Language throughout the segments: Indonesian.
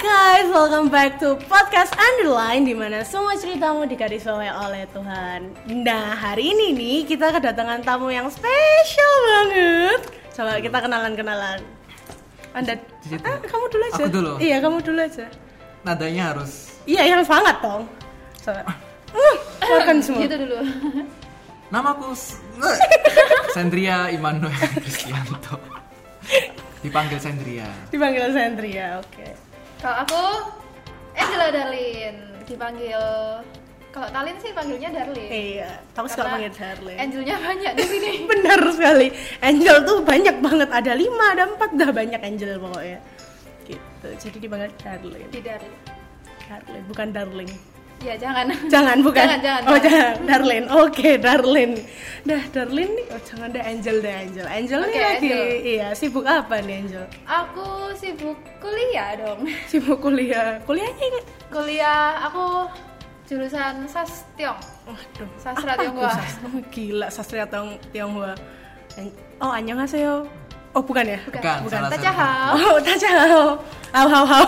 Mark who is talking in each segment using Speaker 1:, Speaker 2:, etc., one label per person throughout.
Speaker 1: guys, welcome back to podcast Underline di mana semua ceritamu dikarisowai oleh Tuhan. Nah, hari ini nih kita kedatangan tamu yang spesial banget. Coba kita kenalan-kenalan. Anda,
Speaker 2: Di situ.
Speaker 1: ah, kamu dulu aja.
Speaker 2: Aku dulu.
Speaker 1: Iya, kamu dulu aja.
Speaker 2: nadanya harus
Speaker 1: Iya, yang sangat dong. Coba. Uh, keluarkan semua.
Speaker 3: Gitu dulu.
Speaker 2: namaku S- Sandria Immanuel Kristianto dipanggil Sandria
Speaker 1: Dipanggil Sandria, oke.
Speaker 3: Kalau aku Angela Darlin dipanggil kalau Talin sih panggilnya Darlin.
Speaker 1: Iya, kamu suka
Speaker 3: Karena Eh,
Speaker 1: banget Darlin.
Speaker 3: Angelnya banyak di sini.
Speaker 1: Benar sekali. Angel tuh banyak banget. Ada lima, ada empat, dah banyak Angel pokoknya. Gitu. Jadi dipanggil Darling.
Speaker 3: Di Darlin.
Speaker 1: Darling, bukan Darling.
Speaker 3: Ya jangan.
Speaker 1: Jangan, bukan.
Speaker 3: Jangan, jangan,
Speaker 1: oh,
Speaker 3: jangan.
Speaker 1: jangan. Darling. Oke, Darling. Dah, Darling nih. Oh, jangan dah Angel dah Angel. Angel nih
Speaker 3: Oke,
Speaker 1: lagi.
Speaker 3: Angel.
Speaker 1: Iya, sibuk apa nih Angel?
Speaker 3: Aku sibuk kuliah dong.
Speaker 1: Sibuk kuliah. Kuliahnya ingat.
Speaker 3: Kuliah aku jurusan Sastiong.
Speaker 1: Waduh.
Speaker 3: Sastra
Speaker 1: apa
Speaker 3: Tionghoa.
Speaker 1: itu sastra? Oh, gila, sastra Tiong- Tionghoa. An- Oh, annyeonghaseyo. Oh, bukan ya?
Speaker 2: Bukan,
Speaker 1: bukan.
Speaker 2: salah satu.
Speaker 3: Tacahal.
Speaker 1: Oh, tajau. Hau hau hau.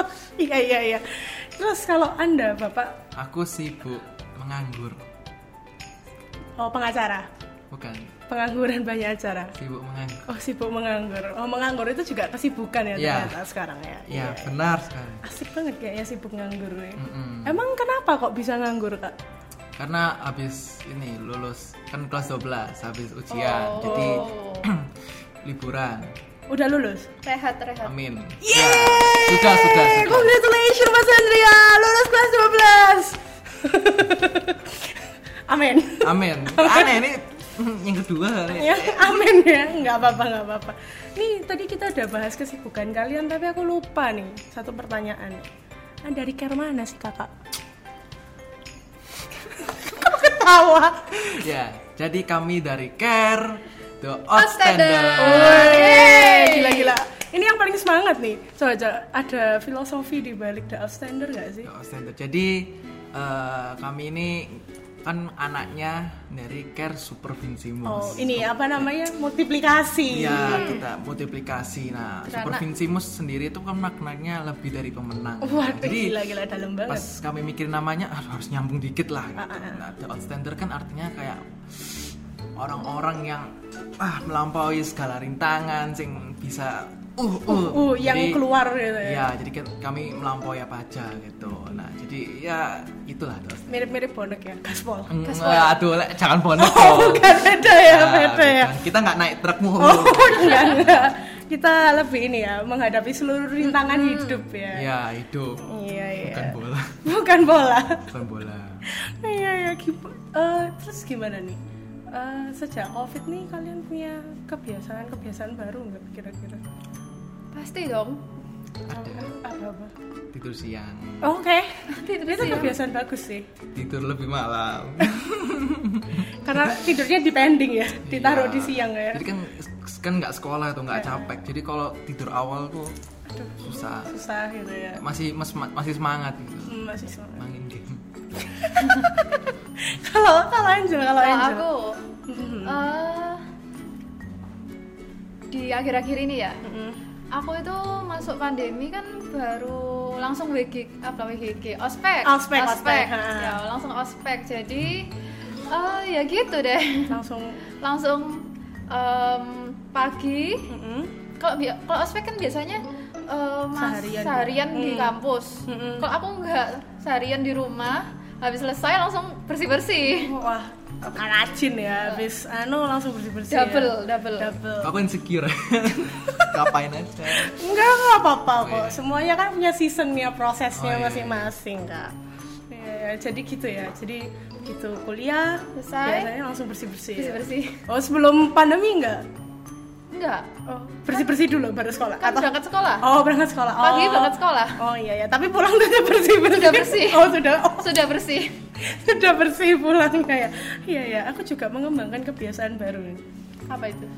Speaker 1: Oh, iya iya iya. Terus kalau Anda Bapak
Speaker 2: aku sibuk menganggur
Speaker 1: oh pengacara,
Speaker 2: bukan
Speaker 1: pengangguran banyak acara.
Speaker 2: sibuk menganggur
Speaker 1: Oh, sibuk menganggur. Oh, menganggur itu juga kesibukan ya
Speaker 2: Iya.
Speaker 1: ternyata sekarang ya.
Speaker 2: ya
Speaker 1: Iya.
Speaker 2: benar sekali
Speaker 1: Asik banget kayaknya sibuk nganggur nih.
Speaker 2: Mm-mm.
Speaker 1: Emang kenapa kok bisa nganggur, Kak?
Speaker 2: karena habis ini lulus kan kelas 12 habis ujian
Speaker 3: Oh.
Speaker 2: Ya, jadi liburan
Speaker 1: Udah lulus?
Speaker 3: rehat rehat.
Speaker 2: amin Ya,
Speaker 1: Yeay!
Speaker 2: sudah sudah sudah
Speaker 1: Congratulations Mas Andrea, lulus kelas 12. Amin.
Speaker 2: amin aneh ini yang kedua ini.
Speaker 1: ya amin ya nggak apa-apa nggak apa-apa nih tadi kita udah bahas kesibukan kalian tapi aku lupa nih satu pertanyaan anda dari care mana sih kakak Kok ketawa
Speaker 2: ya jadi kami dari care the
Speaker 3: Outstander.
Speaker 2: outstander
Speaker 1: Woi, gila-gila ini yang paling semangat nih coba coba ada filosofi di balik the outstander nggak sih
Speaker 2: The Outstander. Jadi eh, kami ini kan anaknya dari Care
Speaker 1: oh
Speaker 2: Supervincimus.
Speaker 1: ini apa namanya multiplikasi
Speaker 2: Iya, kita multiplikasi. Nah, Supervincimus sendiri itu kan maknanya lebih dari pemenang. Nah,
Speaker 1: waduh
Speaker 2: Jadi
Speaker 1: gila-gila dalam
Speaker 2: pas
Speaker 1: banget
Speaker 2: kami mikir namanya aduh, harus nyambung dikit lah
Speaker 1: Ah,
Speaker 2: gitu. Nah, The Outstander kan artinya kayak orang-orang yang ah melampaui segala rintangan sing bisa uh uh,
Speaker 1: uh yang
Speaker 2: Jadi,
Speaker 1: keluar gitu ya
Speaker 2: Iya, jadi kan kami melampaui apa aja gitu. Nah, jadi ya itulah terus.
Speaker 1: mirip-mirip bonek ya
Speaker 2: Oh.
Speaker 1: gaspol
Speaker 2: Enggak, aduh, le, jangan bonek
Speaker 1: oh
Speaker 2: dong.
Speaker 1: bukan beda ya
Speaker 2: Nah,
Speaker 1: beda ya
Speaker 2: bukan. Kita nggak naik truk mulu.
Speaker 1: Oh, enggak, enggak. Kita lebih ini ya, menghadapi seluruh rintangan hidup ya.
Speaker 2: Ya, hidup.
Speaker 1: Iya, iya.
Speaker 2: Bukan bola.
Speaker 1: Bukan bola.
Speaker 2: Bukan bola.
Speaker 1: Iya, iya. giba- eh, terus gimana nih? Eh, sejak COVID nih kalian punya kebiasaan-kebiasaan baru nggak kira-kira?
Speaker 3: Pasti dong.
Speaker 2: Ada
Speaker 1: Apa-apa? ya.
Speaker 2: tidur siang,
Speaker 1: Oke,
Speaker 3: Tidur
Speaker 1: itu
Speaker 3: siang.
Speaker 1: kebiasaan bagus sih.
Speaker 2: tidur lebih malam.
Speaker 1: Karena tidurnya depending ya, ditaruh
Speaker 2: Iya.
Speaker 1: di siang ya. Iya.
Speaker 2: Jadi kan kan nggak sekolah tuh nggak capek. Jadi kalau tidur awal tuh
Speaker 1: Aduh,
Speaker 2: susah.
Speaker 1: susah gitu ya.
Speaker 2: Masih mas- masih semangat gitu.
Speaker 1: Hmm, Masih semangat.
Speaker 2: Main game.
Speaker 1: Kalau kalau Angel, kalau
Speaker 3: Kalau
Speaker 1: Angel.
Speaker 3: aku
Speaker 1: Mhm.
Speaker 3: eh, di akhir-akhir ini ya.
Speaker 1: Mm-mm.
Speaker 3: Aku itu masuk pandemi kan baru langsung WG apa WGG ospek
Speaker 1: Ospek, ospek, ha.
Speaker 3: ya langsung ospek jadi eh, ya gitu deh
Speaker 1: Langsung.
Speaker 3: langsung em, pagi
Speaker 1: mm-mm.
Speaker 3: kalau bi- kalau ospek kan biasanya eh, mas
Speaker 1: Seharian.
Speaker 3: seharian, di
Speaker 1: Hmm.
Speaker 3: kampus
Speaker 1: Mm-mm.
Speaker 3: kalau aku nggak seharian di rumah habis selesai langsung bersih bersih
Speaker 1: Wah, kan rajin ya. Habis anu langsung bersih-bersih. ya.
Speaker 3: double double
Speaker 1: Double.
Speaker 2: Aku insecure. Ngapain aja.
Speaker 1: Enggak, enggak apa-apa
Speaker 2: Oh,
Speaker 1: kok.
Speaker 2: iya.
Speaker 1: Semuanya kan punya seasonnya, prosesnya
Speaker 2: Oh, iya,
Speaker 1: masing-masing, Kak. Iya, iya. jadi gitu ya. Jadi gitu kuliah
Speaker 3: Selesai.
Speaker 1: biasanya langsung bersih-bersih. ya.
Speaker 3: bersih bersih
Speaker 1: Oh, sebelum pandemi enggak?
Speaker 3: enggak
Speaker 1: Oh, bersih-bersih dulu baru sekolah.
Speaker 3: kan
Speaker 1: Atau-
Speaker 3: berangkat sekolah
Speaker 1: Oh, berangkat sekolah. Oh.
Speaker 3: pagi berangkat sekolah
Speaker 1: Oh iya ya, tapi pulang tetap bersih-bersih.
Speaker 3: Sudah bersih.
Speaker 1: Oh, sudah. Oh,
Speaker 3: sudah bersih
Speaker 1: sudah bersih pulangnya ya. Iya ya, aku juga mengembangkan kebiasaan baru nih.
Speaker 3: apa itu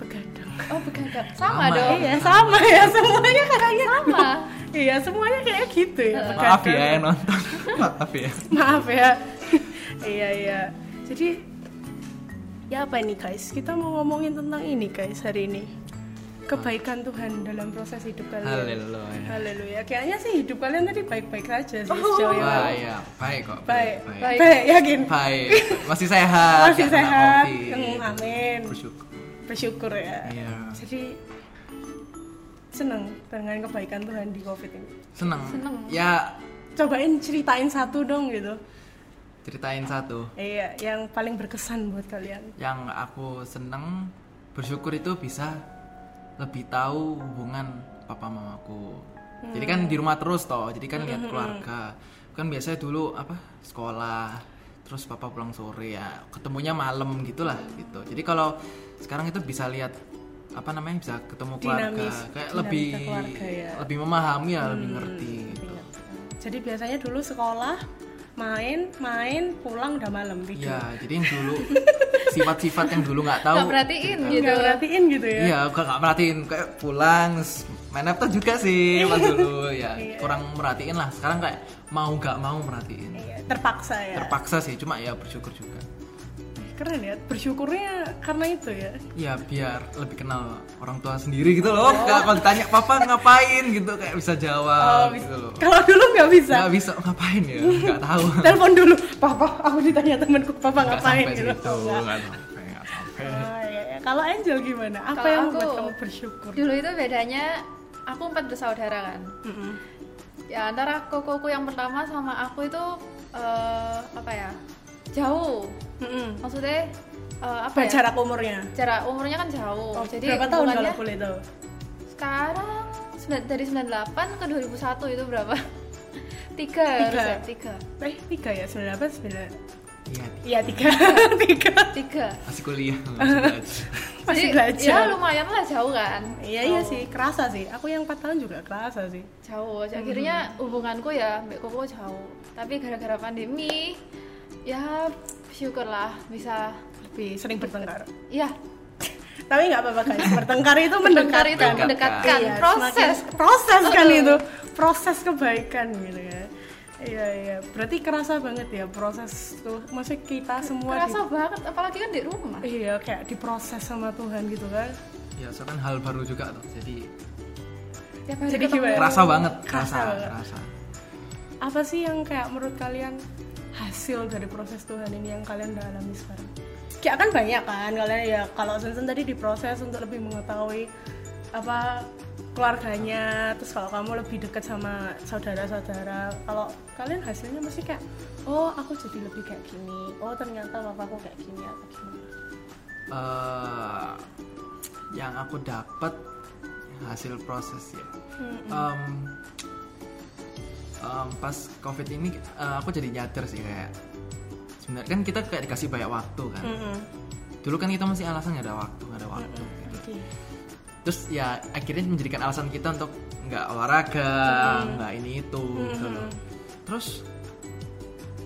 Speaker 1: Begadang.
Speaker 3: oh begadang sama,
Speaker 2: Sama.
Speaker 3: dong
Speaker 1: Iya sama ya semuanya kayaknya
Speaker 3: Sama.
Speaker 1: Iya semuanya kayak gitu ya.
Speaker 2: Maaf ya
Speaker 1: begadang.
Speaker 2: yang nonton. Maaf ya.
Speaker 1: Maaf ya. iya iya. Jadi ya apa ini guys? Kita mau ngomongin tentang ini guys hari ini. kebaikan Tuhan dalam proses hidup kalian.
Speaker 2: Haleluya.
Speaker 1: Haleluya. Kayaknya sih hidup kalian tadi baik-baik saja sih sejauh ini.
Speaker 2: Wah, iya, baik kok.
Speaker 1: Baik,
Speaker 2: baik.
Speaker 1: baik, baik, yakin.
Speaker 2: Baik. Masih sehat.
Speaker 1: Masih
Speaker 2: nggak kena
Speaker 1: sehat.
Speaker 2: Covid.
Speaker 1: Hmm, amin.
Speaker 2: Bersyukur.
Speaker 1: Bersyukur ya.
Speaker 2: Iya.
Speaker 1: Jadi seneng dengan kebaikan Tuhan di COVID ini.
Speaker 2: Seneng.
Speaker 3: Seneng.
Speaker 2: Ya,
Speaker 1: Cobain ceritain satu dong gitu.
Speaker 2: ceritain satu
Speaker 1: Iya, yang paling berkesan buat kalian.
Speaker 2: yang aku seneng bersyukur itu bisa lebih tahu hubungan papa mamaku jadi kan
Speaker 1: Hmm.
Speaker 2: di rumah terus toh jadi kan lihat keluarga kan biasanya dulu apa sekolah terus papa pulang sore ya ketemunya malam gitulah gitu jadi kalau sekarang itu bisa lihat apa namanya bisa ketemu keluarga
Speaker 1: Dinamis-
Speaker 2: kayak
Speaker 1: dinamika
Speaker 2: lebih
Speaker 1: keluarga ya. Hmm.
Speaker 2: lebih memahami ya lebih ngerti gitu
Speaker 1: Jadi biasanya dulu sekolah main, main, pulang udah malam tidur.
Speaker 2: ya jadi yang dulu sifat-sifat yang dulu nggak tahu
Speaker 3: Nggak perhatiin
Speaker 2: gitu.
Speaker 1: Nggak
Speaker 3: gitu.
Speaker 1: perhatiin gitu ya.
Speaker 2: Iya, gue gak merhatiin kayak pulang terus main laptop juga sih pas dulu ya
Speaker 1: Iya.
Speaker 2: kurang merhatiin lah sekarang kayak mau gak mau merhatiin
Speaker 1: Iya, terpaksa ya.
Speaker 2: terpaksa sih cuma ya bersyukur juga
Speaker 1: Keren ya, bersyukurnya karena itu ya.
Speaker 2: ya biar lebih kenal orang tua sendiri gitu
Speaker 1: Oh.
Speaker 2: loh kalau kalau ditanya papa ngapain gitu kayak bisa jawab
Speaker 1: bis-
Speaker 2: gitu loh
Speaker 1: Kalau dulu nggak Oh, bisa.
Speaker 2: nggak bisa ngapain ya nggak tahu
Speaker 1: Telepon dulu, papa, aku ditanya temanku, papa
Speaker 2: nggak
Speaker 1: ngapain
Speaker 2: sampai
Speaker 1: gitu.
Speaker 2: situ
Speaker 1: Oh, nggak.
Speaker 2: nggak sampai nggak sampai
Speaker 1: Oh, iya, iya. Kalau Angel gimana? Apa yang
Speaker 3: Kalau aku- Iya.
Speaker 1: membuat kamu bersyukur?
Speaker 3: Dulu itu bedanya aku empat bersaudara kan.
Speaker 1: Mm-mm.
Speaker 3: Ya antara kokoku yang pertama sama aku itu eh, apa ya? Jauh.
Speaker 1: Mm-mm.
Speaker 3: Maksudnya eh, apa
Speaker 1: Apa
Speaker 3: ya?
Speaker 1: jarak umurnya?
Speaker 3: Jarak umurnya kan jauh.
Speaker 1: Oh,
Speaker 3: Jadi
Speaker 1: berapa tahun
Speaker 3: hubungannya
Speaker 1: kalau boleh tahu?
Speaker 3: Sekarang sembilan- dari 98 ke 2001 itu berapa? tiga,
Speaker 1: Tiga.
Speaker 3: harusnya, tiga.
Speaker 1: Eh, tiga ya? Sembilan apa? Sembilan?
Speaker 2: iya
Speaker 1: Iya, tiga. tiga.
Speaker 3: Tiga.
Speaker 2: masih kuliah langsung aja.
Speaker 1: Masih
Speaker 3: Jadi,
Speaker 1: belajar.
Speaker 3: Ya lumayan lah jauh kan.
Speaker 1: Iya iya sih, kerasa sih. Aku yang 4 tahun juga kerasa sih.
Speaker 3: Jauh. Akhirnya
Speaker 1: Mm-hmm.
Speaker 3: hubunganku ya Mbak Koko jauh. Tapi gara-gara pandemi ya syukurlah bisa
Speaker 1: Lebih sering bertengkar.
Speaker 3: ya
Speaker 1: Tapi nggak apa-apa guys, bertengkar itu
Speaker 3: mendengar
Speaker 1: mendekatkan.
Speaker 3: itu
Speaker 2: Mendekatkan.
Speaker 3: mendekatkan
Speaker 1: Iya,
Speaker 3: proses.
Speaker 1: semakin- proses kan
Speaker 3: Betul.
Speaker 1: itu, proses kebaikan gitu ya. Iya iya, berarti kerasa banget ya proses tuh. Maksudnya kita semua
Speaker 3: Kerasa banget apalagi kan di rumah.
Speaker 1: di, iya kayak diproses sama Tuhan gitu kan.
Speaker 2: ya so kan hal baru juga tuh jadi
Speaker 3: Tiap hari
Speaker 1: Jadi
Speaker 3: ketemu.
Speaker 1: gimana?
Speaker 2: kerasa banget
Speaker 1: Kerasa
Speaker 2: kerasa
Speaker 1: banget.
Speaker 2: kerasa
Speaker 1: Apa sih yang kayak menurut kalian hasil dari proses Tuhan ini yang kalian udah alami sekarang? Kayak kan banyak kan kalian ya kalau Sensen tadi diproses untuk lebih mengetahui apa keluarganya terus kalau kamu lebih dekat sama saudara-saudara kalau kalian hasilnya mesti kayak oh aku jadi lebih kayak gini oh ternyata papaku kayak gini atau gimana
Speaker 2: eh yang aku dapat hasil proses ya. Em, em, pas covid ini eh, aku jadi nyadar sih kayak sebenarnya kan kita kayak dikasih banyak waktu kan.
Speaker 1: Mm-mm.
Speaker 2: Dulu kan kita masih alasan nggak ada waktu nggak ada waktu. gitu.
Speaker 1: Oke.
Speaker 2: Terus ya akhirnya menjadikan alasan kita untuk nggak olahraga nggak ini itu gitu loh. Terus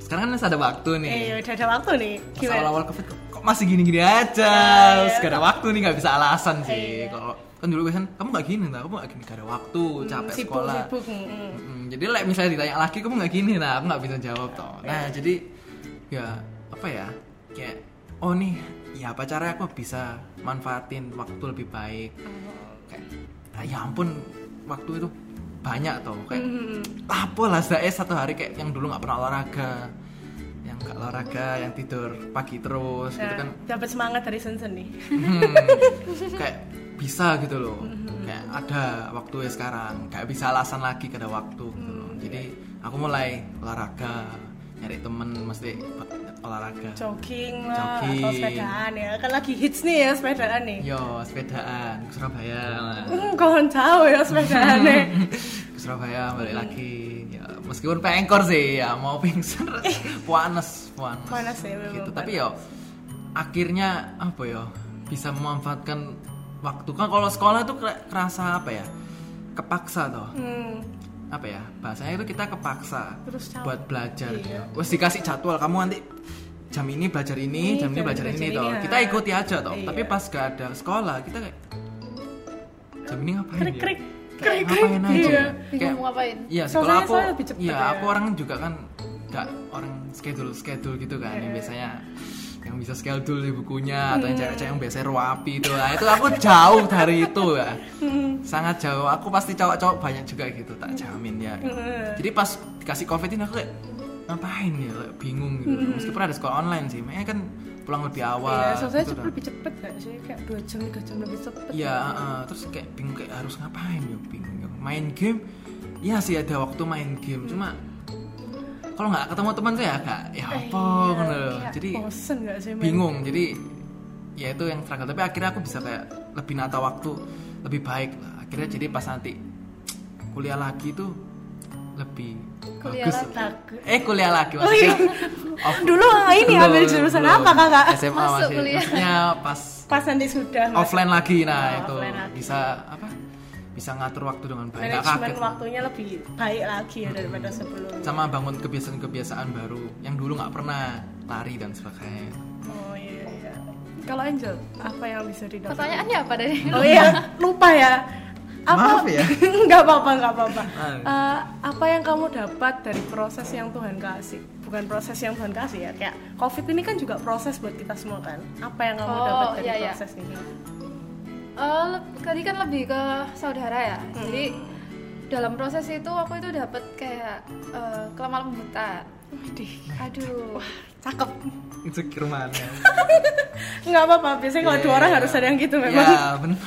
Speaker 2: sekarang kan masih ada waktu nih.
Speaker 1: eh udah ada waktu nih
Speaker 2: Pas
Speaker 1: gimana Iya,
Speaker 2: awal-awal covid kok- kok masih gini-gini aja terus gak ada waktu nih gak bisa alasan sih kalau kan dulu kan kamu gak gini nah kamu gak gini gak ada waktu capek
Speaker 1: Hmm, sibuk
Speaker 2: sekolah
Speaker 1: sibuk mm-mm.
Speaker 2: Mm, jadi like, misalnya ditanya lagi kamu gak gini nah aku gak bisa jawab toh nah jadi ya apa ya kayak oh nih ya apa caranya aku bisa manfaatin waktu lebih baik kayak "Ah, ya ampun waktu itu banyak toh kayak apa lah saya satu hari kayak yang dulu nggak pernah olahraga yang nggak olahraga yang tidur pagi terus gitu
Speaker 1: Nah,
Speaker 2: kan
Speaker 1: dapat semangat dari Sensen nih
Speaker 2: Hmm, kayak bisa gitu loh kayak ada waktu ya sekarang kayak bisa alasan lagi kada waktu gitu loh jadi aku mulai olahraga nyari temen mesti olahraga
Speaker 1: jogging lah
Speaker 2: Jogging.
Speaker 1: atau sepedaan ya kan lagi hits nih ya sepedaan nih
Speaker 2: yo sepedaan ke Surabaya lah.
Speaker 1: hmm, kawan tahu ya sepedaan nih
Speaker 2: ke Surabaya balik lagi ya meskipun pengkor sih ya mau pingsan puanes puanes
Speaker 1: Puanes ya, memang
Speaker 2: gitu tapi ya akhirnya apa ya bisa memanfaatkan waktu kan kalau sekolah itu kera- kerasa apa ya kepaksa toh
Speaker 1: hmm,
Speaker 2: apa ya bahasanya itu kita kepaksa
Speaker 1: Terus Iya. capek.
Speaker 2: buat belajar terus dikasih jadwal kamu nanti jam ini belajar ini,
Speaker 1: Ini,
Speaker 2: jam ini
Speaker 1: jam
Speaker 2: belajar
Speaker 1: belajar
Speaker 2: ini,
Speaker 1: ini,
Speaker 2: toh
Speaker 1: ha.
Speaker 2: kita ikuti aja toh
Speaker 1: Iya.
Speaker 2: tapi pas gak ada sekolah kita kayak jam ini ngapain
Speaker 1: krik
Speaker 2: ya?
Speaker 1: krik
Speaker 2: Kayak
Speaker 1: krik krik
Speaker 2: ngapain aja
Speaker 1: iya
Speaker 2: Kayak-
Speaker 3: Bingung mau ngapain.
Speaker 2: Iya, sih,
Speaker 1: Soalnya
Speaker 2: kalau aku,
Speaker 1: soalnya lebih cepet
Speaker 2: iya,
Speaker 1: ya. Iya.
Speaker 2: aku orang juga kan nggak orang schedule schedule gitu kan, yang biasanya ya yang bisa scale dulu di bukunya atau yang cewek-cewek yang biasa ruapi itu lah itu aku jauh dari itu ya
Speaker 1: Hmm.
Speaker 2: sangat jauh aku pasti cowok-cowok banyak juga gitu tak jamin ya
Speaker 1: Iya.
Speaker 2: jadi pas dikasih covid ini aku kayak ngapain ya Kayak bingung gitu meskipun ada sekolah online sih makanya kan pulang lebih awal
Speaker 1: Hmm. Iya, selesai
Speaker 2: gitu
Speaker 1: cepet
Speaker 2: dah.
Speaker 1: lebih cepet gak sih? Kayak 2 jam, 3 jam lebih cepet
Speaker 2: Iya, heeh. terus kayak bingung kayak harus ngapain ya bingung. ya. Main game, ya sih ada waktu main game, cuma kalau nggak ketemu teman tuh ya agak ya apa
Speaker 1: Eh,
Speaker 2: ngono loh.
Speaker 1: iya, Kayak
Speaker 2: Jadi
Speaker 1: bosen gak sih main
Speaker 2: bingung. Jadi ya itu yang struggle. Tapi akhirnya aku bisa kayak lebih nata waktu, lebih baik lah. Akhirnya jadi pas nanti kuliah lagi tuh lebih
Speaker 3: Kuliah
Speaker 2: bagus.
Speaker 3: lagi.
Speaker 1: Takut.
Speaker 2: Eh kuliah lagi
Speaker 1: Oh iya.
Speaker 2: maksudnya. off.
Speaker 1: Dulu ini
Speaker 2: Belum,
Speaker 1: ambil jurusan
Speaker 2: belum.
Speaker 1: apa kakak?
Speaker 2: SMA
Speaker 3: Masuk
Speaker 2: masih.
Speaker 3: kuliah.
Speaker 2: Maksudnya pas
Speaker 1: Pas nanti sudah Mas.
Speaker 2: offline lagi nah
Speaker 1: Oh,
Speaker 2: itu
Speaker 1: offline lagi.
Speaker 2: bisa apa bisa ngatur waktu dengan baik nggak
Speaker 1: Manajemen
Speaker 2: kaget Hmm.
Speaker 1: waktunya lebih baik lagi ya daripada sebelumnya
Speaker 2: sama bangun kebiasaan-kebiasaan baru yang dulu nggak pernah lari dan sebagainya
Speaker 1: Oh iya iya Kalau Angel, apa yang bisa didapat?
Speaker 3: Pertanyaannya apa dari
Speaker 1: Oh iya, lupa ya.
Speaker 2: Maaf ya.
Speaker 1: nggak apa-apa, nggak apa-apa.
Speaker 2: Ah.
Speaker 1: Eh, apa yang kamu dapat dari proses yang Tuhan kasih? Bukan proses yang Tuhan kasih ya, kayak COVID ini kan juga proses buat kita semua kan. Apa yang kamu
Speaker 3: Oh,
Speaker 1: dapat dari
Speaker 3: iya, iya.
Speaker 1: proses ini?
Speaker 3: Eh, le- tadi kan lebih ke saudara ya.
Speaker 1: Mm-hmm.
Speaker 3: Jadi dalam proses itu aku itu dapat kayak eh, kelemahan pembutaan.
Speaker 1: Widih,
Speaker 3: Aduh.
Speaker 1: cakep.
Speaker 2: insecure mana
Speaker 1: Nggak apa-apa, biasanya kalau
Speaker 2: Iya,
Speaker 1: dua orang harus ada yang gitu memang.
Speaker 2: ya benar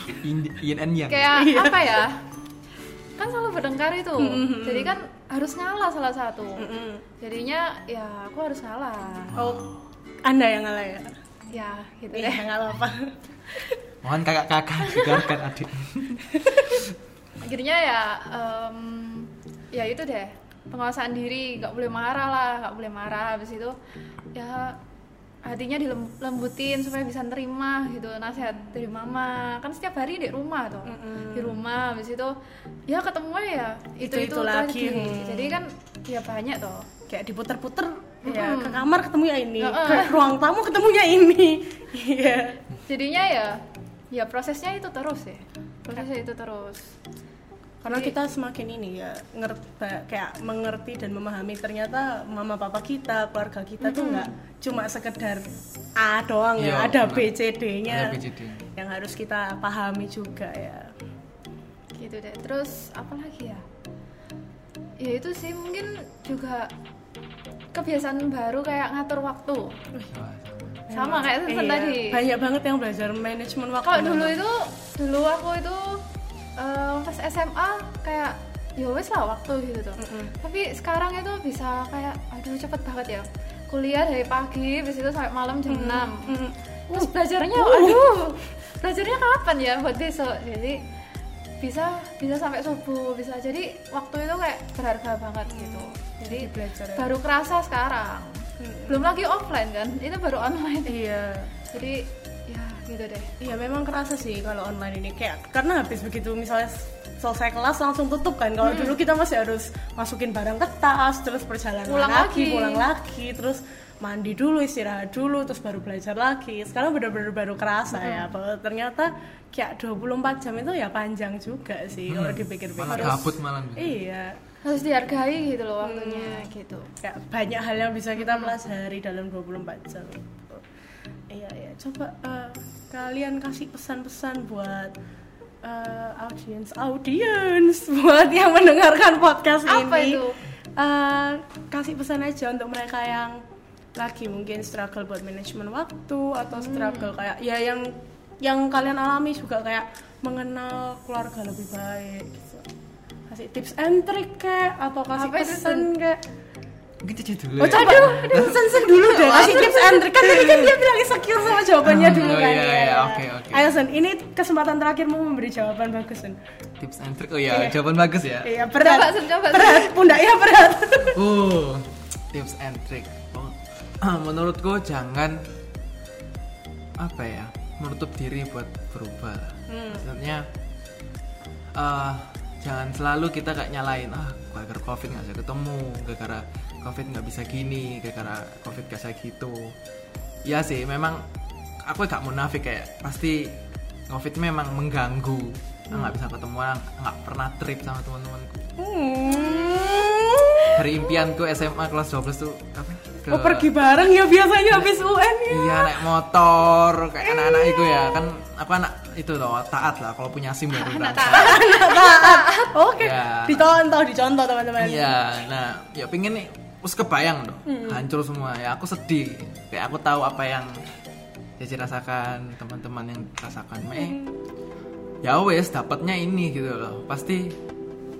Speaker 2: yin and yang
Speaker 3: Kayak
Speaker 1: Iya.
Speaker 3: apa ya? Kan selalu berdengkar itu. Jadi kan harus ngalah salah satu.
Speaker 1: Mm-mm.
Speaker 3: Jadinya ya aku harus ngalah.
Speaker 1: Oh, Anda yang ngalah ya?
Speaker 3: Ya gitu
Speaker 1: Iya,
Speaker 3: deh.
Speaker 1: nggak apa-apa.
Speaker 2: mohon kakak-kakak dengarkan adik
Speaker 3: Akhirnya ya em, ya itu deh penguasaan diri nggak boleh marah lah nggak boleh marah habis itu ya hatinya dilembutin supaya bisa nerima gitu nasihat dari mama kan setiap hari di rumah tuh di rumah habis itu ya ketemu ya itu
Speaker 1: Itu-itu
Speaker 3: itu,
Speaker 1: lagi.
Speaker 3: jadi kan ya banyak tuh
Speaker 1: Kayak diputer-puter, ya ke kamar ketemunya ini, ke
Speaker 3: Iya. Heeh.
Speaker 1: ruang tamu ketemunya ini. Iya.
Speaker 3: jadinya ya ya prosesnya itu terus ya prosesnya itu terus
Speaker 1: karena
Speaker 3: Iya.
Speaker 1: kita semakin ini ya ngerti kayak mengerti dan memahami ternyata mama papa kita keluarga kita tuh nggak cuma sekedar A doang
Speaker 2: Iya,
Speaker 1: ya ada
Speaker 2: benar.
Speaker 1: B C D-nya
Speaker 2: Ada BJD.
Speaker 1: yang harus kita pahami juga ya
Speaker 3: gitu deh terus apa lagi ya ya itu sih mungkin juga kebiasaan baru kayak ngatur waktu
Speaker 2: Wah,
Speaker 3: sama kayak Susan
Speaker 1: Iya,
Speaker 3: tadi
Speaker 1: banyak banget yang belajar manajemen waktu
Speaker 3: kalau dulu itu dulu aku itu eh, pas SMA kayak ya wes lah waktu gitu tuh
Speaker 1: Mm-mm.
Speaker 3: tapi sekarang itu bisa kayak aduh cepet banget ya kuliah dari pagi habis itu sampai malam jam 6
Speaker 1: Mm,
Speaker 3: terus belajarnya aduh belajarnya kapan ya buat besok jadi bisa bisa sampai subuh bisa jadi waktu itu kayak berharga banget gitu jadi
Speaker 1: Mm. Jadi belajar ya.
Speaker 3: baru kerasa sekarang belum lagi offline kan itu baru online
Speaker 1: iya
Speaker 3: jadi ya gitu deh
Speaker 1: Iya memang kerasa sih kalau online ini kayak karena habis begitu misalnya s- selesai kelas langsung tutup kan kalau dulu kita masih harus masukin barang ke tas terus perjalanan
Speaker 3: Pulang
Speaker 1: lagi,
Speaker 3: lagi.
Speaker 1: pulang lagi terus mandi dulu istirahat dulu terus baru belajar lagi sekarang benar-benar baru kerasa ya bahwa ternyata kayak 24 jam itu ya panjang juga sih kalau Iya, dipikir-pikir
Speaker 2: Hmm. malah gabut malam
Speaker 1: iya
Speaker 3: harus dihargai gitu loh waktunya gitu
Speaker 1: kayak banyak hal yang bisa kita pelajari dalam 24 jam iya iya coba eh, kalian kasih pesan-pesan buat eh, audiens audiens buat yang mendengarkan podcast
Speaker 3: Apa
Speaker 1: ini
Speaker 3: itu?
Speaker 1: Eh, kasih pesan aja untuk mereka yang lagi mungkin struggle buat manajemen waktu atau
Speaker 3: Hmm.
Speaker 1: struggle kayak ya yang yang kalian alami juga kayak mengenal keluarga lebih baik gitu. kasih tips and trick kayak atau kasih
Speaker 3: Apa itu,
Speaker 1: pesan kayak
Speaker 2: mungkin cici dulu
Speaker 1: Oh,
Speaker 2: ya.
Speaker 1: coba aduh, sen-sen dulu deh kasih tips and trick kan tadi kan dia bilang insecure sama jawabannya
Speaker 2: Oh,
Speaker 1: dulu kan.
Speaker 2: iya,
Speaker 1: ya.
Speaker 2: iya, oke, oke.
Speaker 1: Ayo Sen, ini kesempatan terakhirmu memberi jawaban bagus Sen.
Speaker 2: tips and trick oh ya jawaban bagus ya
Speaker 1: Iya, berat.
Speaker 3: Coba, Sen, coba, Sen.
Speaker 1: Berat, pundaknya berat.
Speaker 2: Uh, tips and trick. Oh, menurutku jangan apa ya menutup diri buat berubah. Maksudnya eh, jangan selalu kita kayak nyalain ah gara-gara covid nggak bisa ketemu, gara-gara covid nggak bisa gini, gara-gara covid nggak bisa gitu. Ya sih, memang aku gak munafik kayak pasti covid memang mengganggu. Ah, Aku Nggak bisa ketemuan, nggak pernah trip sama teman-temanku
Speaker 1: Hmm.
Speaker 2: hari pendakianku SMA kelas 12 tuh apa? Ke,
Speaker 1: Oh pergi bareng ya biasanya habis UN ya.
Speaker 2: Iya naik motor kayak anak-anak itu ya kan aku anak itu loh taat lah kalau punya SIM ya, baru
Speaker 3: anak
Speaker 2: berangkat.
Speaker 3: taat
Speaker 1: Oke,
Speaker 2: Ya.
Speaker 1: dicontoh, dicontoh teman-teman.
Speaker 2: Iya, nah, ya pengen nih, terus kebayang dong, hancur semua. Ya aku sedih, kayak aku tahu apa yang Cici rasakan, teman-teman yang rasakan. Eh, ya wes, dapatnya ini gitu loh. Pasti,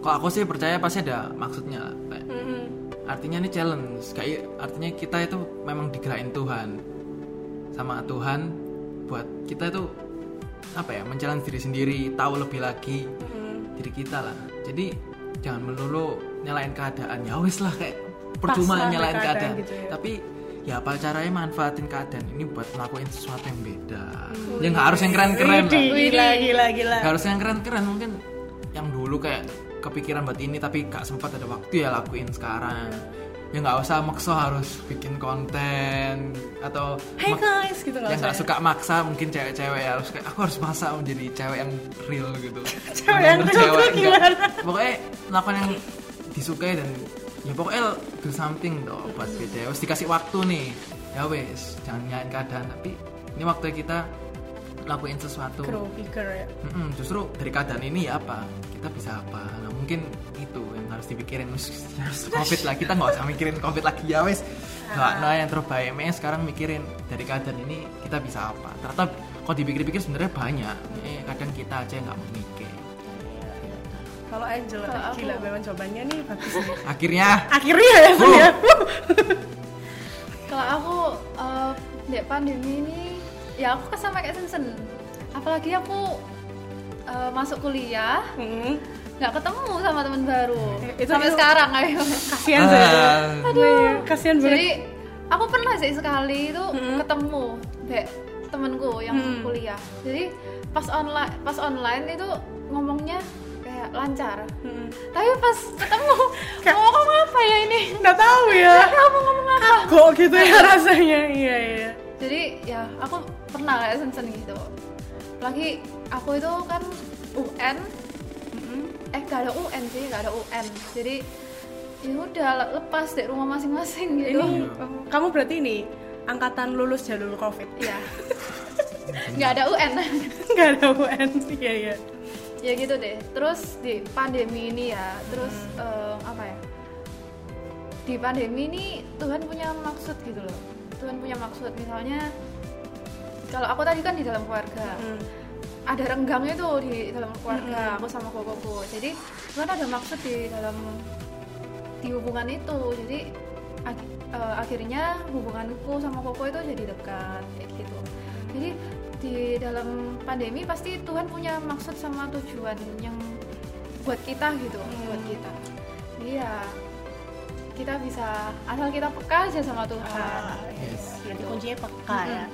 Speaker 2: kok aku sih percaya pasti ada maksudnya. lah. Kayak,
Speaker 1: Mm-mm.
Speaker 2: Artinya ini challenge, kayak artinya kita itu memang digerakin Tuhan sama Tuhan buat kita itu apa ya, menchallenge diri sendiri, tahu lebih lagi
Speaker 1: Mm.
Speaker 2: diri kita lah jadi jangan melulu nyalain keadaan ya wis lah kayak percuma
Speaker 1: Pasrah
Speaker 2: nyalain
Speaker 1: ke keadaan
Speaker 2: keadaan,
Speaker 1: gitu ya.
Speaker 2: tapi ya apa caranya manfaatin keadaan ini buat ngelakuin sesuatu yang beda yang nggak harus yang keren-keren lah
Speaker 1: Hmm.
Speaker 2: Iya,
Speaker 1: Widih, Gila, gila, gila.
Speaker 2: Nggak harus yang keren-keren mungkin yang dulu kayak kepikiran buat ini tapi gak sempat ada waktu ya lakuin sekarang ya nggak usah maksa harus bikin konten atau
Speaker 1: Hey
Speaker 2: mak-
Speaker 1: guys, gitu nggak
Speaker 2: yang
Speaker 1: usah.
Speaker 2: nggak suka maksa mungkin cewek-cewek ya harus kayak aku harus maksa menjadi cewek yang real gitu
Speaker 1: Cewek yang
Speaker 2: Bener-bener
Speaker 1: real tuh
Speaker 2: enggak.
Speaker 1: gimana?
Speaker 2: pokoknya melakukan yang disukai dan ya pokoknya do something dong buat
Speaker 1: Hmm.
Speaker 2: beda harus dikasih waktu nih ya wes jangan nyalain keadaan tapi ini waktu kita lakuin sesuatu
Speaker 1: Grow bigger ya.
Speaker 2: Mm-mm, justru dari keadaan ini ya apa kita bisa apa nah mungkin itu yang harus dipikirin Wis, harus covid lah kita nggak usah mikirin covid lagi ya wes nggak nah yang terbaik Makanya sekarang mikirin dari keadaan ini kita bisa apa ternyata kalau dipikir-pikir sebenarnya banyak eh, kadang kita aja yang nggak memikir
Speaker 1: Kalau Angela,
Speaker 3: Kalau aku-
Speaker 1: gila memang jawabannya nih bagus. nih.
Speaker 2: akhirnya
Speaker 1: Akhirnya ya, Bun, ya.
Speaker 2: Uh.
Speaker 3: kalau aku eh, dek pandemi ini ya aku kesama kayak Simpson apalagi aku eh, masuk kuliah
Speaker 1: Mm.
Speaker 3: nggak ketemu sama teman baru
Speaker 1: Eh, itu-
Speaker 3: sampai
Speaker 1: itu-
Speaker 3: sekarang ayo.
Speaker 1: Kasihan saya.
Speaker 2: Ah,
Speaker 1: Aduh, kasihan
Speaker 3: jadi
Speaker 1: banget.
Speaker 3: aku pernah sih sekali itu
Speaker 1: Mm-mm.
Speaker 3: ketemu dek temanku yang
Speaker 1: Mm.
Speaker 3: kuliah jadi pas online pas online itu ngomongnya kayak lancar
Speaker 1: Mm.
Speaker 3: tapi pas ketemu
Speaker 1: Kayak-
Speaker 3: mau ngomong apa ya ini
Speaker 1: Nggak tahu ya.
Speaker 3: kamu Iya, ngomong apa
Speaker 1: Kok gitu ya rasanya. Iya, iya.
Speaker 3: jadi ya aku pernah kayak sensen gitu lagi aku itu kan UN eh gak ada UN sih gak ada UN jadi ya udah le- lepas dari rumah masing-masing gitu
Speaker 1: Ini kamu berarti ini angkatan lulus jalur Covid.
Speaker 3: ya nggak ada UN
Speaker 1: Nggak ada UN. Iya, iya.
Speaker 3: ya gitu deh terus di pandemi ini ya terus eh, apa ya di pandemi ini Tuhan punya maksud gitu loh Tuhan punya maksud misalnya kalau aku tadi kan di dalam keluarga
Speaker 1: Mm.
Speaker 3: ada renggangnya tuh di dalam keluarga aku sama kokoku jadi Tuhan ada maksud di dalam di hubungan itu jadi ak- eh, akhirnya hubunganku sama koko itu jadi dekat kayak gitu jadi di dalam pandemi pasti Tuhan punya maksud sama tujuan yang buat kita gitu buat kita iya kita bisa asal kita peka aja sama Tuhan
Speaker 1: Ah,
Speaker 2: Yes.
Speaker 1: Jadi kuncinya peka ya.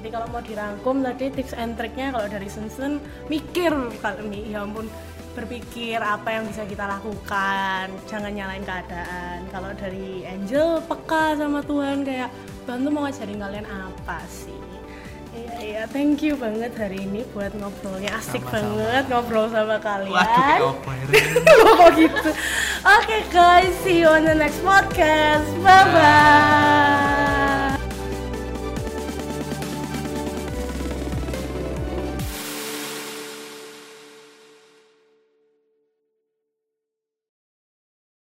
Speaker 1: Jadi kalau mau dirangkum tadi tips and triknya kalau dari Sensen mikir kalau mi- ya ampun berpikir apa yang bisa kita lakukan, jangan nyalain keadaan. Kalau dari Angel peka sama Tuhan kayak Tuhan tuh mau ngajarin kalian apa sih? Iya, iya, thank you banget hari ini buat ngobrolnya asik
Speaker 2: Sama-sama.
Speaker 1: banget ngobrol sama kalian. Oh,
Speaker 2: waduh ya kayak apa ini?
Speaker 1: Kok gitu. Oke guys, see you on the next podcast. Bye bye.